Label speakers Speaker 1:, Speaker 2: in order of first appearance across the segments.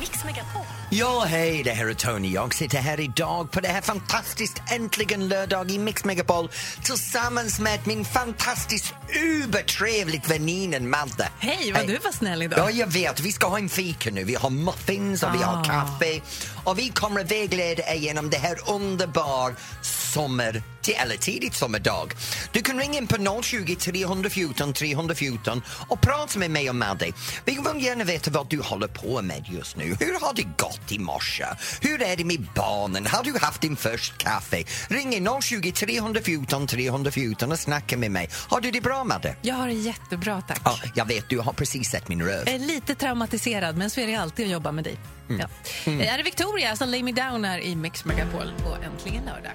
Speaker 1: Mix Megapol.
Speaker 2: Ja, hej, det här är Tony. Jag sitter här idag på det här fantastiskt äntligen lördag i Mix Megapol tillsammans med min fantastiskt ubertrevligt väninnan Madde.
Speaker 3: Hej, vad du var snäll idag.
Speaker 2: Ja, jag vet. Vi ska ha en fika nu. Vi har muffins och vi har
Speaker 3: Ah.
Speaker 2: kaffe. Och vi kommer att vägleda er genom det här underbar sommar, eller tidigt sommardag. Du kan ringa in på 020 314 314 och prata med mig och Madde. Vi vill gärna veta vad du håller på med just nu. Hur har det gått i morse? Hur är det med barnen? Har du haft din första kaffe? Ring in 020 314 314 och snacka med mig. Har du det bra Madde?
Speaker 3: Jag har det jättebra, tack.
Speaker 2: Ja, jag vet, du har precis sett min röv.
Speaker 3: Jag är lite traumatiserad, men så är det alltid att jobba med dig.
Speaker 2: Mm.
Speaker 3: Ja. Eh, Är det Victoria som Lay Me Down här i Mix Megapol på Äntligen lördag?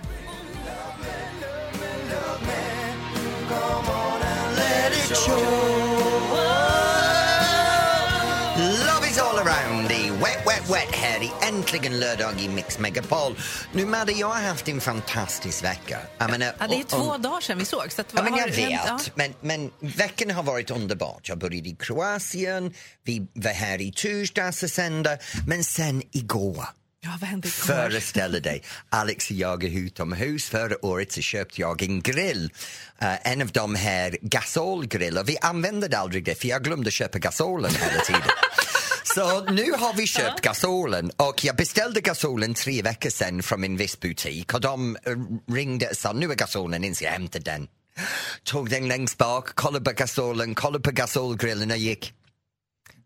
Speaker 2: Let it show. Love is all around i Wet Wet Wet här i Äntligen lördag i Mix Megapol. Nu Madde, jag har haft en fantastisk vecka. Jag menar,
Speaker 3: Ja, det är ju
Speaker 2: och-
Speaker 3: två
Speaker 2: och-
Speaker 3: dagar sedan vi såg. Så att,
Speaker 2: Ja,
Speaker 3: vad
Speaker 2: men
Speaker 3: har
Speaker 2: jag
Speaker 3: det hänt?
Speaker 2: vet, men, men veckan har varit underbart. Jag började i Kroatien, vi var här i torsdags och sände, men sen igår
Speaker 3: Ja, ja vad hände igår?
Speaker 2: Föreställ dig, Alex och jag är utomhus. Förra året så köpte jag en grill, eh, en av de här gasolgrillar. Vi använde aldrig det för jag glömde köpa gasolen hela tiden. Så nu har vi köpt gasolen och jag beställde gasolen tre veckor sedan från en viss butik och de eh, ringde och sa nu är gasolen in så jag hämtade den. Tog den längst bak, kollade på gasolen, kollade på gasolgrillen och gick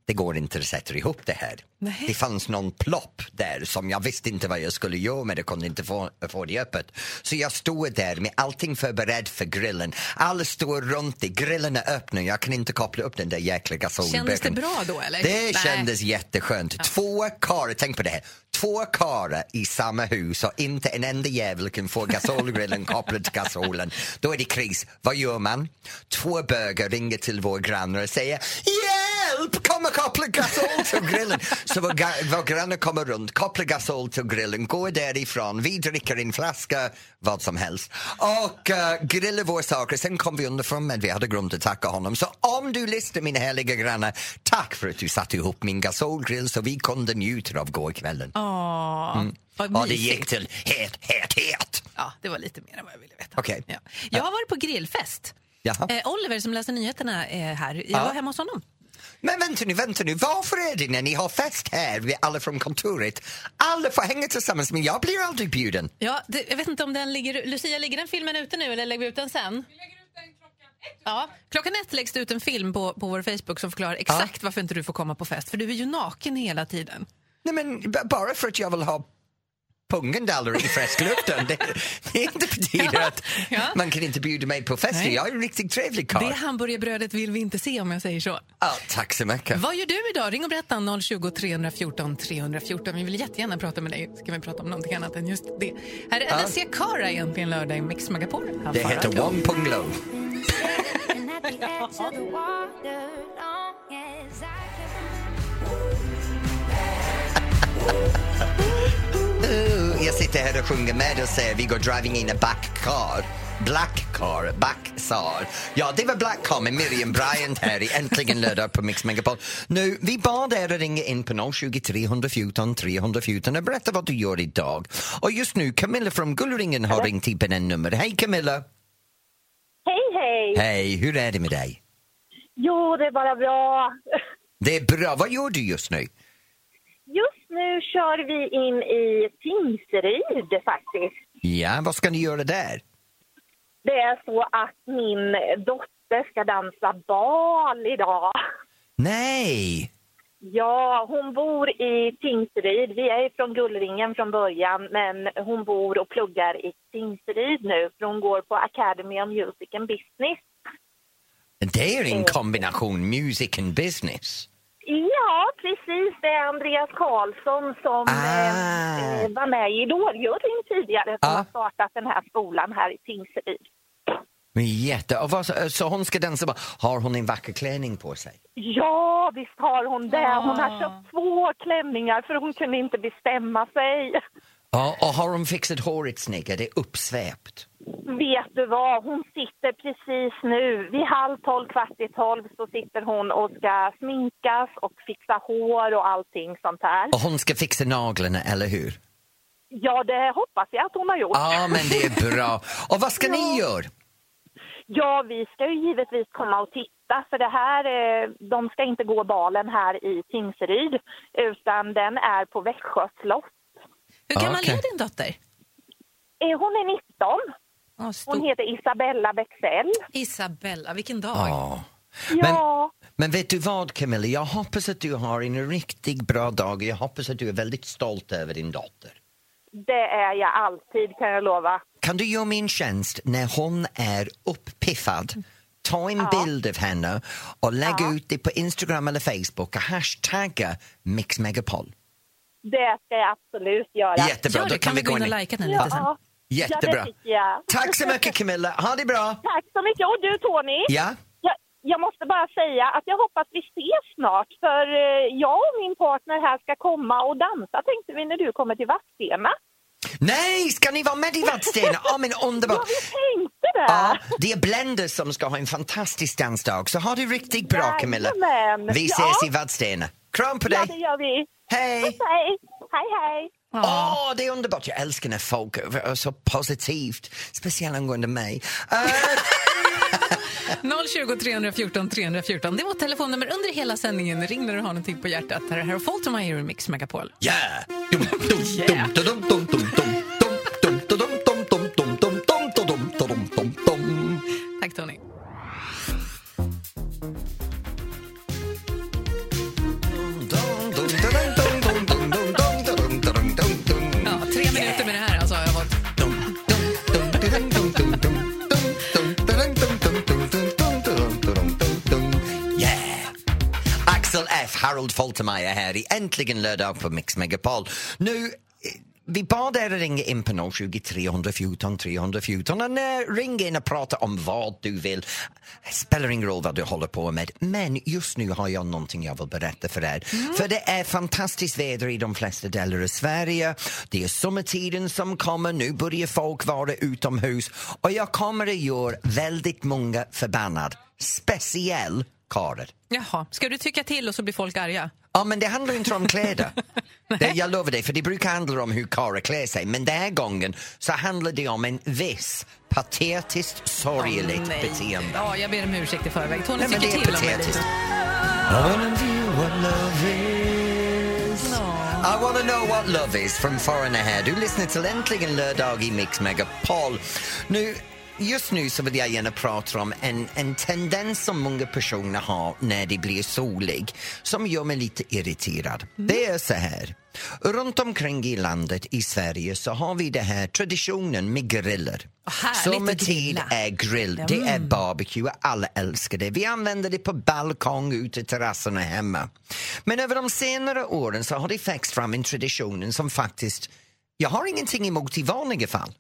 Speaker 2: det går inte att sätta ihop det här.
Speaker 3: Nej.
Speaker 2: Det fanns någon plopp där som jag visste inte vad jag skulle göra med. Jag kunde inte få, få det öppet. Så jag stod där med allting förberedd för grillen. Alla står runt det, grillen är öppen jag kan inte koppla upp den där jäkla gasolböken.
Speaker 3: Kändes det bra då, eller?
Speaker 2: Det
Speaker 3: Nej.
Speaker 2: kändes jätteskönt. Två karlar, tänk på det här. Två karlar i samma hus och inte en enda jävel kan få gasolgrillen kopplad till gasolen. Då är det kris. Vad gör man? Två bögar ringer till vår granne och säger Hjälp! Kom och koppla gasol till grillen! Så vår, ga- vår granne kommer runt, kopplar gasol till grillen, går därifrån, vi dricker en flaska, vad som helst och eh, grillar våra saker. Sen kom vi underfrån men vi hade glömt att tacka honom. Så om du lyssnar min heliga granne, tack för att du satte ihop min gasolgrill så vi kunde njuta av gårdkvällen.
Speaker 3: Åh, vad
Speaker 2: Och Mm. det
Speaker 3: mysigt.
Speaker 2: gick till het, het, het!
Speaker 3: Ja, det var lite mer än vad jag ville veta.
Speaker 2: Okej.
Speaker 3: Ja. Jag har varit på grillfest.
Speaker 2: Jaha.
Speaker 3: Eh, Oliver som läser nyheterna är här. Jag var hemma hos honom.
Speaker 2: Men vänta nu, vänta nu, varför är det när ni har fest här, vi alla från kontoret, alla får hänga tillsammans men jag blir aldrig bjuden?
Speaker 3: Ja, det, jag vet inte om den ligger... Lucia, ligger den filmen ute nu eller lägger vi ut den sen? Vi lägger ut den klockan ett. Ja, klockan ett läggs det ut en film på, på vår Facebook som förklarar exakt varför inte du får komma på fest. För du är ju naken hela tiden.
Speaker 2: Nej men b- bara för att jag vill ha pungen där i friskluften, det, det inte betyder att
Speaker 3: ja.
Speaker 2: man kan inte bjuda mig på fester.
Speaker 3: Nej.
Speaker 2: Jag är en riktigt trevlig karl.
Speaker 3: Det hamburgerbrödet vill vi inte se om jag säger så.
Speaker 2: Ja, tack så mycket.
Speaker 3: Vad gör du idag? Ring och berätta 020 314 314. Vi vill jättegärna prata med dig. Ska vi prata om någonting annat än just det? Här är Alicia Cara egentligen lördag i Mix Megapol. Här
Speaker 2: Det
Speaker 3: får
Speaker 2: heter
Speaker 3: du.
Speaker 2: Wong Pung Lo.
Speaker 4: And at the edge of the water, long as I can.
Speaker 2: Uh, Jag sitter här och sjunger med och säger vi går driving in a back car. Black car, back sar. Ja, det var Black car med Miriam Bryant här i Äntligen lördag på Mix Megapol. Nu, vi bad er att ringa in på 020 314 314 och berätta vad du gör idag. Och just nu, Camilla från Gullringen har ringt in på den nummer. Hej Camilla!
Speaker 5: Hej, hej!
Speaker 2: Hej, hur är det med dig?
Speaker 5: Jo, det är bara bra.
Speaker 2: Det är bra. Vad gör du just nu?
Speaker 5: Just nu kör vi in i Tingsryd faktiskt.
Speaker 2: Ja, vad ska ni göra där?
Speaker 5: Det är så att min dotter ska dansa bal idag.
Speaker 2: Nej!
Speaker 5: Ja, hon bor i Tingsryd. Vi är ju från Gullringen från början, men hon bor och pluggar i Tingsryd nu för hon går på Academy of Music and Business.
Speaker 2: Det är en kombination music and business.
Speaker 5: Ja, precis. Det är Andreas Karlsson som
Speaker 2: Ah.
Speaker 5: eh, var med i Idoljuryn tidigare som
Speaker 2: Ah.
Speaker 5: har startat den här skolan här i Tingsryd.
Speaker 2: Men Jätte. Och vad, så- så hon ska dansa bara. Har hon en vacker klänning på sig?
Speaker 5: Ja, visst har hon det. Hon har köpt två klänningar för hon kunde inte bestämma sig.
Speaker 2: Ja, och har hon fixat håret snyggt? Är det uppsväpt?
Speaker 5: Vet du vad, hon sitter precis nu, vid halv tolv, kvart i tolv så sitter hon och ska sminkas och fixa hår och allting sånt här.
Speaker 2: Och hon ska fixa naglarna, eller hur?
Speaker 5: Ja, det hoppas jag att hon har gjort.
Speaker 2: Ja, men det är bra. Och vad ska ni göra?
Speaker 5: Ja, vi ska ju givetvis komma och titta för det här, eh, de ska inte gå balen här i Tingsryd utan den är på Växjö slott.
Speaker 3: Hur gammal
Speaker 2: Okej.
Speaker 3: är din dotter?
Speaker 5: Eh, Hon är 19,
Speaker 3: Oh,
Speaker 5: hon heter Isabella Bexell.
Speaker 3: Isabella, vilken dag.
Speaker 2: Ja. Men,
Speaker 5: Ja,
Speaker 2: men vet du vad Camilla, jag hoppas att du har en riktigt bra dag och jag hoppas att du är väldigt stolt över din dotter.
Speaker 5: det är jag alltid kan jag lova.
Speaker 2: Kan du göra min tjänst när hon är uppiffad? Ta en bild av henne och lägg ut det på Instagram eller Facebook och hashtagga Mix Megapol.
Speaker 5: Det ska jag absolut göra.
Speaker 2: Jättebra,
Speaker 3: Gör det,
Speaker 2: då kan vi gå in
Speaker 3: och
Speaker 2: i...
Speaker 3: lajka den lite sen.
Speaker 5: Ja, Ja,
Speaker 2: Jättebra.
Speaker 5: det tycker jag.
Speaker 2: Tack så mycket Camilla, ha det bra!
Speaker 5: Tack så mycket. Och du Tony,
Speaker 2: Ja,
Speaker 5: jag, jag måste bara säga att jag hoppas vi ses snart för eh, jag och min partner här ska komma och dansa tänkte vi när du kommer till Vadstena.
Speaker 2: nej, ska ni vara med i Vadstena? Ja, men underbart!
Speaker 5: Ja, vi tänkte det.
Speaker 2: Ja, det är Blender som ska ha en fantastisk dansdag, så ha det riktigt bra Camilla.
Speaker 5: Jajamän.
Speaker 2: Vi
Speaker 5: Ja.
Speaker 2: ses i Vadstena. Kram på
Speaker 5: Ja, det
Speaker 2: dig!
Speaker 5: gör vi.
Speaker 2: Hej!
Speaker 5: Hej, hej. hej.
Speaker 2: Åh, det är underbart. Jag älskar när folk är så positivt. Speciellt angående mig. Eh,
Speaker 3: 020 314 314. Det var telefonnummer under hela sändningen. Ring när du har någonting på hjärtat. Här är Harold Faltermeyer och Mix Megapol.
Speaker 2: yeah! Dum, dum,
Speaker 3: Yeah.
Speaker 2: dum, dum, dum, dum, dum, dum, dum, dum, dum, dum, dum, dum, dum, dum, dum, dum, dum, dum.
Speaker 3: Tack Tony.
Speaker 2: Dum, dum, dum, dum, dum, dum, dum, dum, dum, dum, dum, dum.
Speaker 3: Ja, tre minuter med det här alltså, har jag fått.
Speaker 2: Dum, dum, dum, dum, dum, dum, dum, dum, dum, dum, dum, dum, dum, dum, dum, dum, dum. Yeah! Axel F, Harold Faltermeyer här i Äntligen lördag på Mix Megapol. Nu, eh, vi bad er att ringa in på 020 314 314 och när, ring in och prata om vad du vill. Spelar ingen roll vad du håller på med, men just nu har jag någonting jag vill berätta för er. För det är fantastiskt väder i de flesta delar av Sverige. Det är sommartiden som kommer, nu börjar folk vara utomhus och jag kommer att göra väldigt många förbannad, speciell karlar.
Speaker 3: Jaha, ska du tycka till och så blir folk arga?
Speaker 2: Ja, men det handlar inte om kläder. det, jag lovar dig, för det brukar handla om hur karlar klär sig. Men den här gången så handlar det om en viss patetiskt sorgligt
Speaker 3: Åh, nej.
Speaker 2: beteende.
Speaker 3: Ja, jag ber om ursäkt i förväg. Tony
Speaker 2: Nej, men
Speaker 3: tycker
Speaker 2: det är
Speaker 3: till om mig lite.
Speaker 2: patetiskt. I wanna view what love is I wanna know what love is från Foreigner här. Du lyssnar till Äntligen lördag i Mix Megapol. Nu, just nu så vill jag gärna prata om en, en tendens som många personer har när det blir solig som gör mig lite irriterad.
Speaker 3: Mm.
Speaker 2: Det är så här. Runt omkring i landet i Sverige så har vi den här traditionen med griller.
Speaker 3: Vad härligt att
Speaker 2: Sommartid
Speaker 3: grilla.
Speaker 2: är grill, det är barbecue, alla älskar det. Vi använder det på balkong, ute i terrasserna hemma. Men över de senare åren så har det växt fram en tradition som faktiskt, jag har ingenting emot i vanliga fall.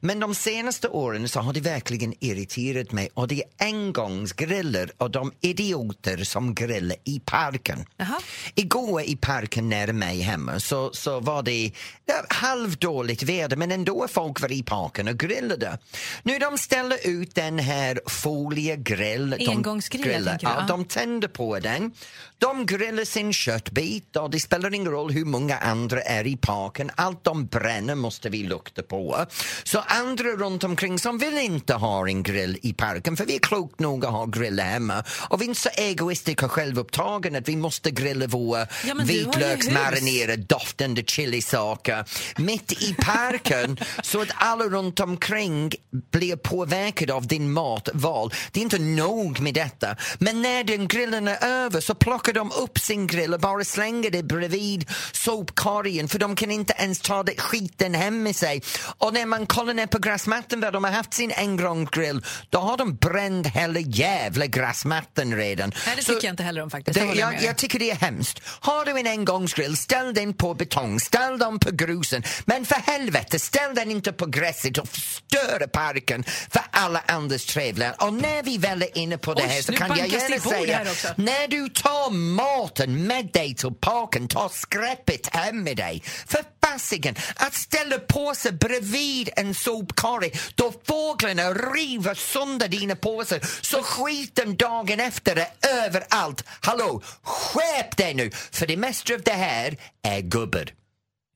Speaker 2: Men de senaste åren så har det verkligen irriterat mig och det är engångsgriller och de idioter som grillar i parken.
Speaker 3: Jaha.
Speaker 2: Igår i parken nära mig hemma så, så var det ja, halvdåligt väder men ändå folk var i parken och grillade. Nu de ställer ut den här foliegrill.
Speaker 3: Engångsgrill,
Speaker 2: de grillar.
Speaker 3: tänker du?
Speaker 2: Ja,
Speaker 3: Ja.
Speaker 2: de tänder på den. De grillar sin köttbit och det spelar ingen roll hur många andra är i parken. Allt de bränner måste vi lukta på. Så andra runt omkring som vill inte ha en grill i parken för vi är klokt nog att ha grill hemma och vi är inte så egoistiska och självupptagna att vi måste grilla våra
Speaker 3: Ja, men du har ju
Speaker 2: vitlöksmarinerade doftande chilisaker mitt i parken så att alla runt omkring blir påverkade av din matval. Det är inte nog med detta. Men när den grillen är över så plockar de upp sin grill och bara slänger det bredvid sopkorgen för de kan inte ens ta det skiten hem med sig. Och när man kollar ner på gräsmattan där de har haft sin engångsgrill då har de bränt hela jävla gräsmattan redan.
Speaker 3: Nej, det
Speaker 2: Så-
Speaker 3: tycker jag inte heller om faktiskt. Det
Speaker 2: det,
Speaker 3: håller jag,
Speaker 2: jag,
Speaker 3: med
Speaker 2: jag tycker det är hemskt. Har du en engångsgrill, ställ den på betong, ställ den på grusen. Men för helvete, ställ den inte på gräset och förstör parken för alla andras trevliga. Och när vi väl är inne på det
Speaker 3: Oj,
Speaker 2: här så
Speaker 3: nu
Speaker 2: kan jag
Speaker 3: bankas det
Speaker 2: gärna
Speaker 3: i bord
Speaker 2: säga,
Speaker 3: här också.
Speaker 2: när du tar maten med dig till parken, ta skräpet hem med dig. För klassiken att ställa påsen bredvid en sopkorg då fåglarna river sönder dina påsar så skiten dagen efter är överallt. Hallå, skärp dig nu för det mesta av det här är gubbar.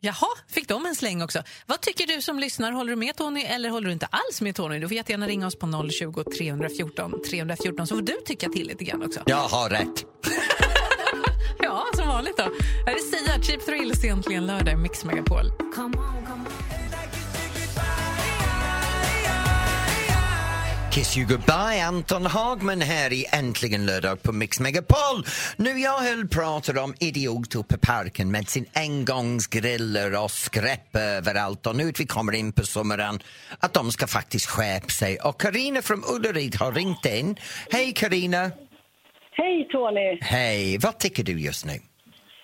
Speaker 3: Jaha, fick de en släng också. Vad tycker du som lyssnar? Håller du med Tony eller håller du inte alls med Tony? Du får jättegärna ringa oss på 020 314 314 så får du tycka till lite grann också.
Speaker 2: Jag har rätt.
Speaker 3: Ja, som vanligt då. Här är Sia, Cheap Thrills, egentligen lördag i Mix Megapol.
Speaker 4: Come on, come on.
Speaker 2: Kiss you goodbye, Anton Hagman här i Äntligen lördag på Mix Megapol. Nu jag höll pratar om idiot uppe i parken med sin engångsgriller och skräp överallt och nu att vi kommer in på sommaren att de ska faktiskt skärpa sig. Och Karina från Ullared har ringt in. Hej Karina!
Speaker 6: Hej Tony!
Speaker 2: Hej, vad tycker du just nu?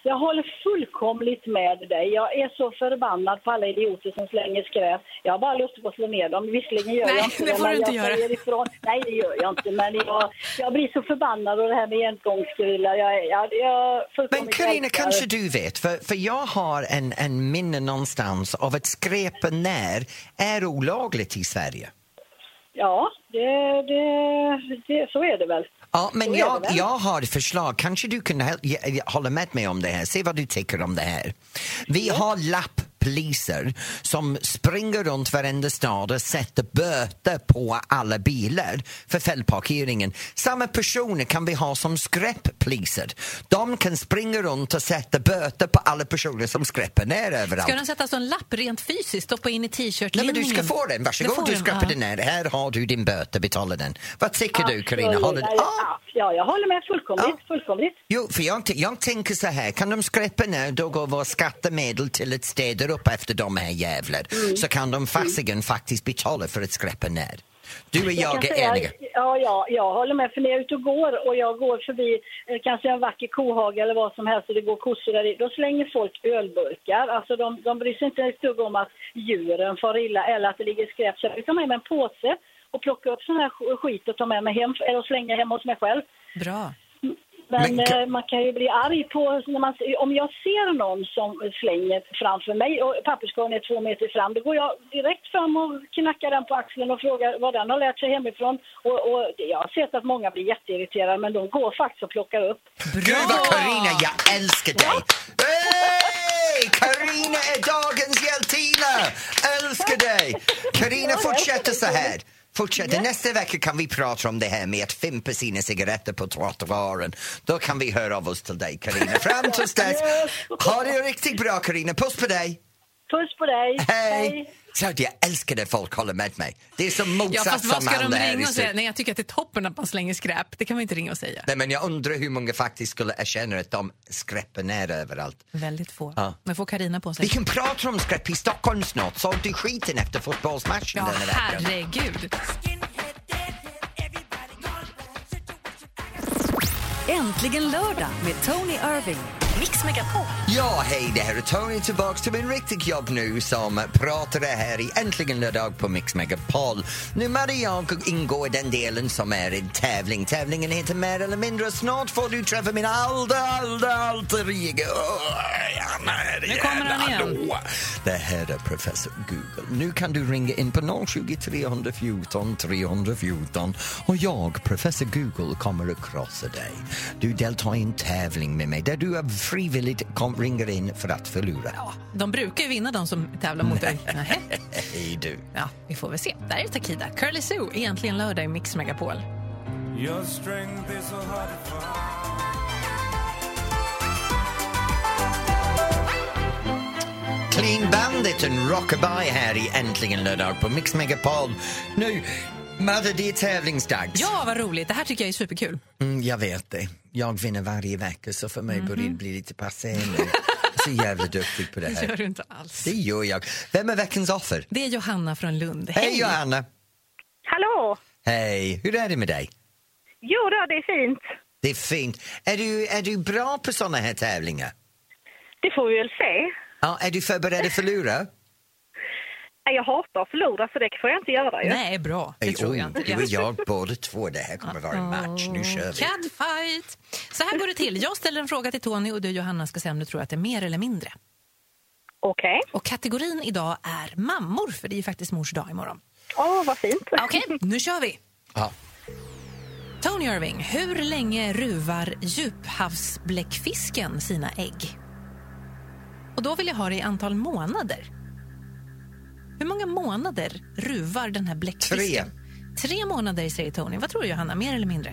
Speaker 6: Jag håller fullkomligt med dig. Jag är så förbannad på alla idioter som slänger skräp. Jag har bara lust på att slå ner dem. Visserligen gör
Speaker 3: Nej,
Speaker 6: jag inte
Speaker 3: det får
Speaker 6: men
Speaker 3: du inte
Speaker 6: jag
Speaker 3: göra.
Speaker 6: säger ifrån. Nej, det gör jag inte. Men jag, jag blir så förbannad och det här med engångsgrillar. Jag, är- jag, jag
Speaker 2: Men
Speaker 6: fullkomligt
Speaker 2: Karina,
Speaker 6: älskar-
Speaker 2: kanske du vet, för, för jag har en, en minne någonstans av att skräpa när är olagligt i Sverige.
Speaker 6: Ja, det, det, det, så är det väl.
Speaker 2: Ja, men
Speaker 6: Så är
Speaker 2: jag,
Speaker 6: det väl?
Speaker 2: jag har ett förslag. Kanske du kan hel- ge- ge- hålla med mig om det här. Se vad du tycker om det här. Vi har lapppoliser som springer runt varenda stad och sätter böter på alla bilar för felparkeringen. Samma personer kan vi ha som skräppoliser. De kan springa runt och sätta böter på alla personer som skräpper ner överallt.
Speaker 3: Ska de sätta så en lapp rent fysiskt, stoppa in i
Speaker 2: Nej,
Speaker 3: t-shirtlinningen?
Speaker 2: men du ska få den,
Speaker 3: Jag får
Speaker 2: varsågod. Du skräpper
Speaker 3: ja.
Speaker 2: den här. Här har du din böter, betala den. Vad
Speaker 6: Ah,
Speaker 2: tycker du, Ah! Carina?
Speaker 6: Absolut.
Speaker 2: Håller...
Speaker 6: Ja,
Speaker 2: Ja.
Speaker 6: ja, ja, jag håller med fullkomligt. fullkomligt.
Speaker 2: Jo, för jag, t- jag tänker så här, kan de skräpa nu, då går våra skattemedel till att städa upp efter de här jävlar.
Speaker 6: Mm.
Speaker 2: Så kan de fasigen faktiskt betala för att skräpa ner. Du och jag,
Speaker 6: kan
Speaker 2: är
Speaker 6: säga-
Speaker 2: eniga.
Speaker 6: Ja, ja, jag håller med. För när jag är ute och går och jag går förbi eh, kanske en vacker kohage eller vad som helst och det går kossor där i, då slänger folk ölburkar. Alltså de, de bryr sig inte ett dugg om att djuren far illa eller att det ligger skräp. Så jag brukar ta med mig en påse och plocka upp sån här sk- skit och ta med mig hem eller slänga hem hos mig själv.
Speaker 3: Bra.
Speaker 6: Men,
Speaker 2: Men kan-
Speaker 6: eh, man kan ju bli arg på när man, om jag ser någon som slänger framför mig och papperskorgen är två meter fram, då går jag direkt fram och knackar den på axeln och frågar vad den har lärt sig hemifrån. Och, och jag har sett att många blir jätteirriterade, men de går faktiskt och plockar upp.
Speaker 2: Gud vad Carina, jag älskar dig! Hej! Carina är dagens hjältinna! Älskar dig! Carina, fortsätter så här. Fortsätter. Nästa vecka kan vi prata om det här med att fimpa sina cigaretter på trottoaren. Då kan vi höra av oss till dig, Carina. Fram tills dess, ha det riktigt bra, Carina. Puss på dig!
Speaker 6: Puss på dig!
Speaker 2: Hej! Så att jag älskar när folk håller med mig. Det är som
Speaker 3: Ja, fast
Speaker 2: motsatsen
Speaker 3: vad ska de
Speaker 2: det här i
Speaker 3: ringa och säga?
Speaker 2: studion.
Speaker 3: Nej, jag tycker att det är toppen att man slänger skräp. Det kan man inte ringa och säga.
Speaker 2: Nej, men jag undrar hur många faktiskt skulle erkänna att de skräpper ner överallt.
Speaker 3: Väldigt få.
Speaker 2: Ja.
Speaker 3: Men får Karina på sig?
Speaker 2: Vi kan prata om skräp i Stockholm snart. Såg du skiten efter fotbollsmatchen
Speaker 3: Ja,
Speaker 2: den här veckan?
Speaker 3: herregud.
Speaker 1: Äntligen lördag med Tony Irving. Mix Megapol.
Speaker 2: Ja, hej, det här är Tony tillbaks till min riktigt jobb nu som pratare här i Äntligen lördag på Mix Megapol. Nu Maria jag ingår i den delen som är en tävling. Tävlingen heter Mer eller mindre. Snart får du träffa min alda, alda, alter ego.
Speaker 3: Nu kommer han igen.
Speaker 2: Hallå. Det här är professor Google. Nu kan du ringa in på 020 314 314 och jag, professor Google, kommer att krossa dig. Du deltar i en tävling med mig där du är frivilligt kom, ringer in för att förlora.
Speaker 3: De brukar ju vinna de som tävlar mot dig. Nähä.
Speaker 2: Hej du.
Speaker 3: Ja, vi får väl se. Där är Takida. Curly Sue, egentligen lördag i Mix Megapol.
Speaker 7: Your strength is so hard to find.
Speaker 2: Clean Bandit och Rockabye här i Äntligen lördag på Mix Megapol. Nu, Madde, det är tävlingsdags.
Speaker 3: Ja, vad roligt. Det här tycker jag är superkul.
Speaker 2: Mm, jag vet det. Jag vinner varje vecka så för mig börjar det bli lite passé nu. Så jävla duktig på det
Speaker 3: Mhm. Det
Speaker 2: här.
Speaker 3: gör du inte alls.
Speaker 2: Det gör jag. Vem är veckans offer?
Speaker 3: Det är Johanna från Lund.
Speaker 2: Hej Johanna!
Speaker 5: Hallå!
Speaker 2: Hej, hur är det med dig?
Speaker 5: Jo då, det är fint.
Speaker 2: Det är fint. Är du, är du bra på såna här tävlingar?
Speaker 5: Det får vi väl se.
Speaker 2: Ja, är du förberedd att förlora?
Speaker 5: Nej, Jag hatar att förlora, så det får jag inte göra. Ju.
Speaker 3: Nej, bra. Det
Speaker 2: Oj,
Speaker 3: tror jag
Speaker 2: Du och
Speaker 3: inte.
Speaker 2: jag båda två, det här kommer vara en match. Nu kör vi.
Speaker 3: Catfight! Så här går det till. Jag ställer en fråga till Tony och du Johanna ska säga om du tror att det är mer eller mindre.
Speaker 5: Okej.
Speaker 3: Och kategorin idag är mammor, för det är ju faktiskt mors dag imorgon.
Speaker 5: Åh, vad fint.
Speaker 3: Okej, nu kör vi!
Speaker 2: Ja.
Speaker 3: Tony Irving, hur länge ruvar djuphavsbläckfisken sina ägg? Och då vill jag ha det i antal månader. Hur många månader ruvar den här bläckfisken? Tre. Tre månader säger Tony. Vad tror du Johanna, mer eller mindre?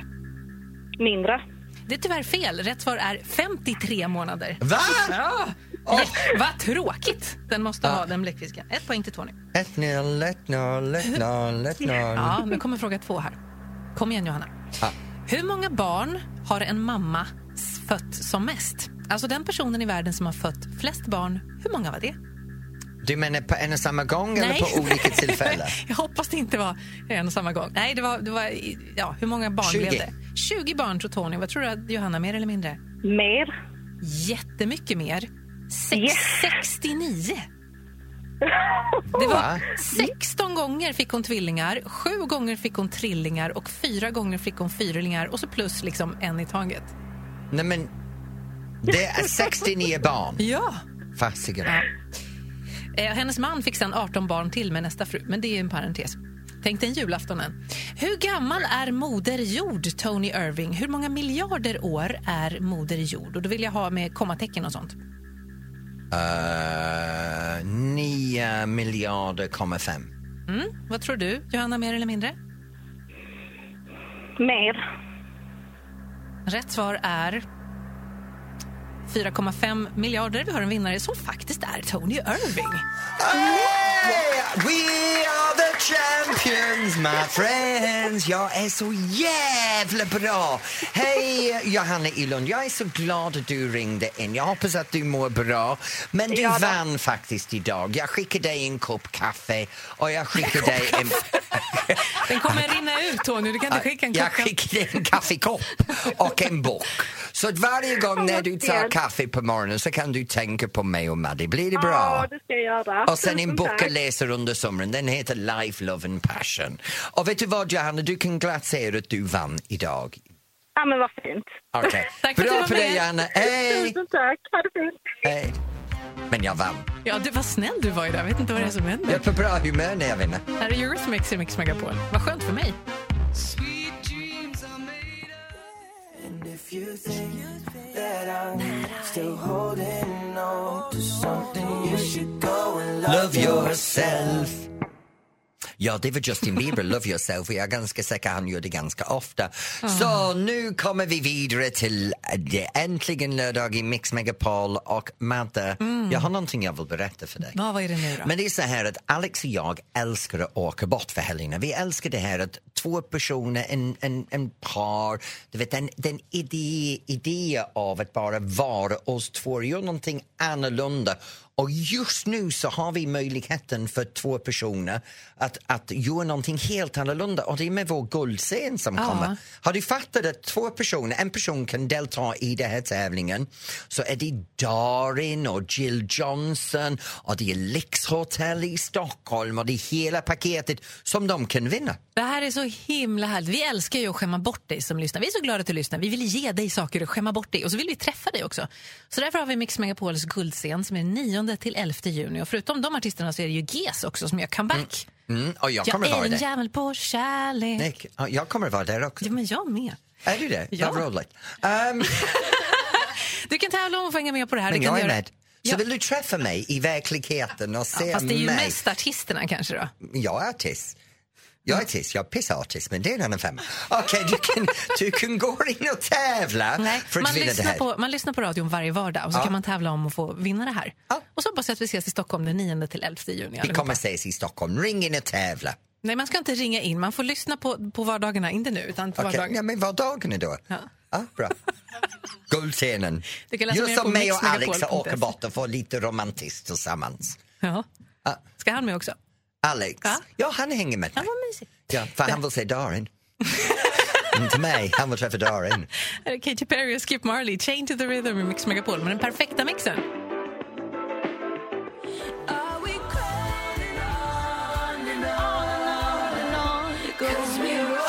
Speaker 5: Mindre.
Speaker 3: Det är tyvärr fel. Rätt svar är 53 månader.
Speaker 2: Va?
Speaker 3: Ja. Vad tråkigt! Den måste ha den bläckfisken. Ett poäng till Tony.
Speaker 2: 1-0, 1-0, 1-0, 1-0.
Speaker 3: Ja, nu kommer fråga två här. Kom igen, Johanna.
Speaker 2: Ja.
Speaker 3: Hur många barn har en mamma s- fött som mest? Alltså den personen i världen som har fött flest barn, hur många var det?
Speaker 2: Du menar på en och samma gång eller på olika tillfällen?
Speaker 3: Jag hoppas det inte var en och samma gång. Nej, det var, det var i- ja, hur många barn
Speaker 2: 20.
Speaker 3: blev det? 20 barn tror Tony. Vad tror du, att Johanna, mer eller mindre?
Speaker 5: Mer.
Speaker 3: Jättemycket mer. Sex,
Speaker 5: Yes.
Speaker 3: 69. Det
Speaker 2: Va?
Speaker 3: var 16 gånger fick hon tvillingar, 7 gånger fick hon trillingar och 4 gånger fick hon fyrlingar och så plus liksom en i taget.
Speaker 2: Nej men, det är 69 barn.
Speaker 3: Ja.
Speaker 2: Fasiken.
Speaker 3: Eh, hennes man fick sen 18 barn till med nästa fru, men det är en parentes. Tänk dig en julafton än. Hur gammal är Moder Jord, Tony Irving? Hur många miljarder år är Moder Jord? Och då vill jag ha med kommatecken och sånt.
Speaker 2: Eh, 9 miljarder komma fem.
Speaker 3: Mm. Vad tror du, Johanna, mer eller mindre?
Speaker 5: Mer.
Speaker 3: Rätt svar är 4,5 miljarder. Vi har en vinnare som faktiskt är Tony Irving.
Speaker 2: Hey! We are the champions my friends Jag är så jävla bra! Hej Johanna Ilund, jag är så glad att du ringde in. Jag hoppas att du mår bra. Men du vann faktiskt idag. Jag skickar dig en kopp kaffe och jag skickar dig en...
Speaker 3: Den kommer rinna ut, Tony. Du kan inte skicka en
Speaker 2: Jag
Speaker 3: klocka.
Speaker 2: skickade en kaffekopp och en bok. Så att varje gång när du tar kaffe på morgonen så kan du tänka på mig och Maddie. Blir det bra?
Speaker 5: Ja, det ska jag göra.
Speaker 2: Och sen en bok jag läser under sommaren, den heter Life, Love and Passion. Och vet du vad Johanna, du kan glatt säga att du vann idag.
Speaker 5: Ja, men vad fint.
Speaker 2: Okej,
Speaker 3: Tack för att du
Speaker 2: bra
Speaker 3: var
Speaker 2: för dig
Speaker 3: med.
Speaker 2: Johanna. Hej!
Speaker 5: Tusen tack. Ha det fint.
Speaker 2: Hej! Men jag vann.
Speaker 3: Ja, du, vad snäll du var idag. Jag vet inte vad det är som händer.
Speaker 2: Jag är på bra humör när jag vinner.
Speaker 3: Här är Eurythmics i Mix Megapol. Vad skönt för mig.
Speaker 2: Love yourself. Ja, det var Justin Bieber, Love yourself, och jag är ganska säker han gör det ganska ofta.
Speaker 3: Ah.
Speaker 2: Så nu kommer vi vidare till eh, det är äntligen lördag i Mix Megapol och Madde,
Speaker 3: Mm.
Speaker 2: jag har någonting jag vill berätta för dig.
Speaker 3: Ja, vad är det nu då?
Speaker 2: Men det är så här att Alex och jag älskar att åka bort för helgerna. Vi älskar det här att två personer, en, en, en par, du vet den, den idé, idé av att bara vara oss två, göra någonting annorlunda. Och just nu så har vi möjligheten för två personer att, att göra någonting helt annorlunda och det är med vår guldscen som
Speaker 3: Ja.
Speaker 2: kommer. Har du fattat att två personer, en person kan delta i den här tävlingen så är det Darin och Jill Johnson och det är Lyxhotell i Stockholm och det är hela paketet som de kan vinna.
Speaker 3: Det här är så himla härligt. Vi älskar ju att skämma bort dig som lyssnar. Vi är så glada att du lyssnar. Vi vill ge dig saker och skämma bort dig. Och så vill vi träffa dig också. Så därför har vi Mix Megapols guldscen som är 9 till 11 juni. Och förutom de artisterna så är det ju GES också som gör comeback.
Speaker 2: Mm, och jag
Speaker 3: Jag
Speaker 2: kommer vara
Speaker 3: är en
Speaker 2: där.
Speaker 3: jävel på kärlek.
Speaker 2: Nick, ja, jag kommer vara där också.
Speaker 3: Ja, men jag med.
Speaker 2: Är du det?
Speaker 3: Ja.
Speaker 2: Vad roligt. Ehm,
Speaker 3: Du kan tävla om och få hänga med på det här.
Speaker 2: men
Speaker 3: du kan
Speaker 2: jag är
Speaker 3: göra-
Speaker 2: med. Så
Speaker 3: Ja.
Speaker 2: vill du träffa mig i verkligheten och se
Speaker 3: Ja, fast det är ju
Speaker 2: mig?
Speaker 3: mest artisterna kanske då.
Speaker 2: Jag är artist. Jag är artist, jag är pissartist, men det är en annan femma. Okej, du, kan, du kan gå in och tävla för
Speaker 3: man,
Speaker 2: att vinna det
Speaker 3: lyssnar
Speaker 2: här.
Speaker 3: på, man lyssnar på radion varje vardag och så
Speaker 2: Ja.
Speaker 3: kan man tävla om att få vinna det här.
Speaker 2: Ja.
Speaker 3: Och så hoppas jag att vi ses i Stockholm den 9 till 11 juni.
Speaker 2: Vi
Speaker 3: allihopa.
Speaker 2: kommer ses i Stockholm, ring in och tävla.
Speaker 3: Nej, man ska inte ringa in. Man får lyssna på, på vardagarna, inte nu, utan på
Speaker 2: Okej,
Speaker 3: vardagen.
Speaker 2: ja, men vad dagen är då? Ja. bra. Guldscenen.
Speaker 3: Du kan läsa
Speaker 2: Gör
Speaker 3: mer på
Speaker 2: som mig och Alex
Speaker 3: mixmegapol.se.
Speaker 2: och åker
Speaker 3: E.
Speaker 2: bort och får lite romantiskt tillsammans.
Speaker 3: Ja.
Speaker 2: Ja. Ah.
Speaker 3: Ska han med också?
Speaker 2: Alex, ja,
Speaker 3: Ja.
Speaker 2: han hänger med
Speaker 3: Ja,
Speaker 2: mig.
Speaker 3: vad mysigt.
Speaker 2: Ja, för han vill se Darin. Inte mig, han vill träffa Darin.
Speaker 3: Här är Katy Perry och Skip Marley, Chain to the Rhythm i Mix Megapol med den perfekta mixen.